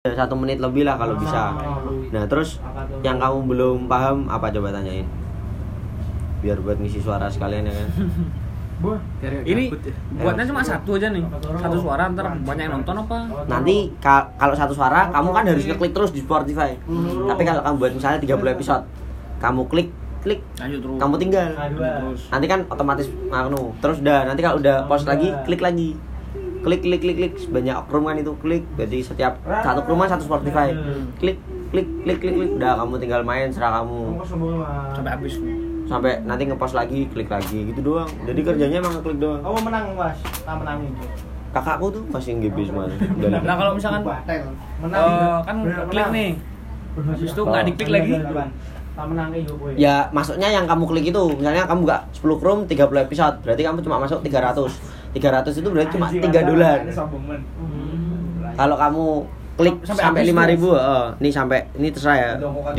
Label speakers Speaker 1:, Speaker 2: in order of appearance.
Speaker 1: Ya, satu menit lebih lah kalau bisa
Speaker 2: Oh.
Speaker 1: nah terus yang kamu belum paham apa coba tanyain biar buat ngisi suara sekalian ya kan
Speaker 3: Ini buatnya cuma satu aja nih. Satu suara ntar banyak yang nonton apa?
Speaker 1: nanti ka- kalau satu suara kamu kan harus ngeklik terus di Spotify tapi kalau kamu buat misalnya 30 episode kamu klik klik
Speaker 3: Lanjut terus.
Speaker 1: kamu tinggal
Speaker 3: terus.
Speaker 1: nanti kan otomatis nganu terus udah nanti kalau udah post lagi klik lagi klik klik klik klik banyak oknum kan itu klik jadi setiap satu rumah satu Spotify klik klik klik klik klik udah kamu tinggal main serah kamu
Speaker 3: Sampai habis.
Speaker 1: sampai nanti ngepost lagi klik lagi gitu doang jadi kerjanya emang ngeklik doang
Speaker 2: Kamu menang, Mas. Tak menang itu.
Speaker 1: kakakku tuh masih ngibis mana
Speaker 3: Nah kalau misalkan
Speaker 2: Batel. Menang.
Speaker 3: eh, kan
Speaker 2: Bener,
Speaker 3: klik
Speaker 2: menang.
Speaker 3: nih.
Speaker 2: Bener, ya.
Speaker 3: Habis itu
Speaker 2: Mas.
Speaker 3: nggak diklik lagi.
Speaker 2: Tak menang eh, itu kowe.
Speaker 1: Oh. ya masuknya yang kamu klik itu misalnya kamu nggak 10 room 30 episode berarti kamu cuma masuk 300 300 itu berarti cuma 3 dolar kalau kamu klik
Speaker 2: Hmm.
Speaker 3: Sampai
Speaker 1: sampai
Speaker 3: habis
Speaker 1: 5000 ribu nih sampai eh, ini terserah ya
Speaker 2: Udah mau